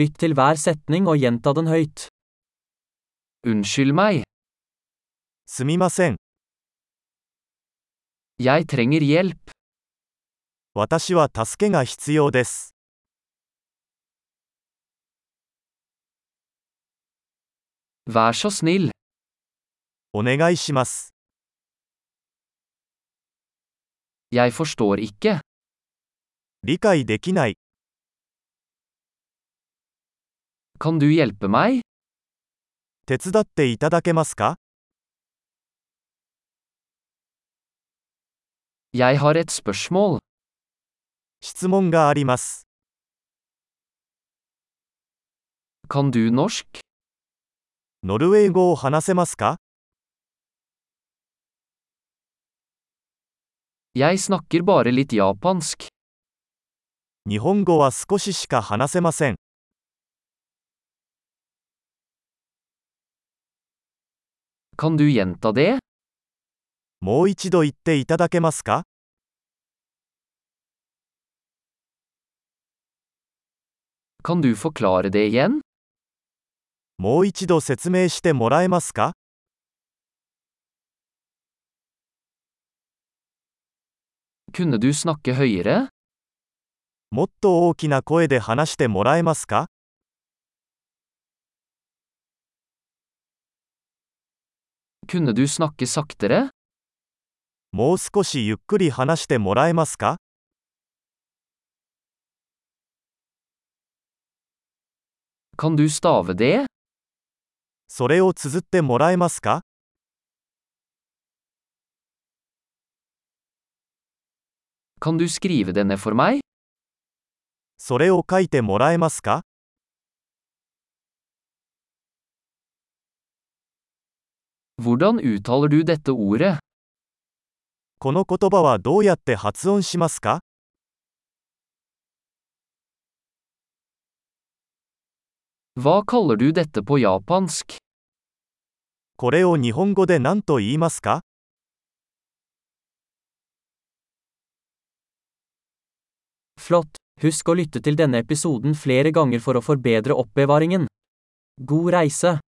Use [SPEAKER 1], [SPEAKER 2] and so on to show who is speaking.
[SPEAKER 1] Lytt til hver setning og gjenta den høyt. Unnskyld meg,
[SPEAKER 2] すみません。
[SPEAKER 1] jeg trenger hjelp.
[SPEAKER 2] 私は助けが必要です。
[SPEAKER 1] Vær så snill,
[SPEAKER 2] お願いします。
[SPEAKER 1] jeg forstår ikke.
[SPEAKER 2] 理解できない。
[SPEAKER 1] Kan du hjelpe meg?
[SPEAKER 2] 手伝っていただけますか
[SPEAKER 1] Jeg har et spørsmål.
[SPEAKER 2] 質問があります。
[SPEAKER 1] Kan du norsk?
[SPEAKER 2] ノルウェー語を話せますか
[SPEAKER 1] Jeg snakker bare litt japansk.
[SPEAKER 2] 日本語は少ししか話せません。
[SPEAKER 1] Kan du gjenta det?
[SPEAKER 2] もう一度言っていただけますか
[SPEAKER 1] Kan du forklare det igjen?
[SPEAKER 2] もう一度説明してもらえますか
[SPEAKER 1] Kunne du snakke høyere?
[SPEAKER 2] もっと大きな声で話してもらえますか
[SPEAKER 1] Kunne du snakke saktere?
[SPEAKER 2] もう少しゆっくり話してもらえますか
[SPEAKER 1] Kan du stave det?
[SPEAKER 2] それを綴ってもらえますか
[SPEAKER 1] Kan du skrive det ned for meg?
[SPEAKER 2] それを書いてもらえますか
[SPEAKER 1] Hvordan uttaler du dette ordet?
[SPEAKER 2] この言葉はどうやって発音しますか
[SPEAKER 1] Hva kaller du dette på japansk?
[SPEAKER 2] これを日本語で何と言いますか
[SPEAKER 1] Flott! Husk å lytte til denne episoden flere ganger for å forbedre oppbevaringen. God reise!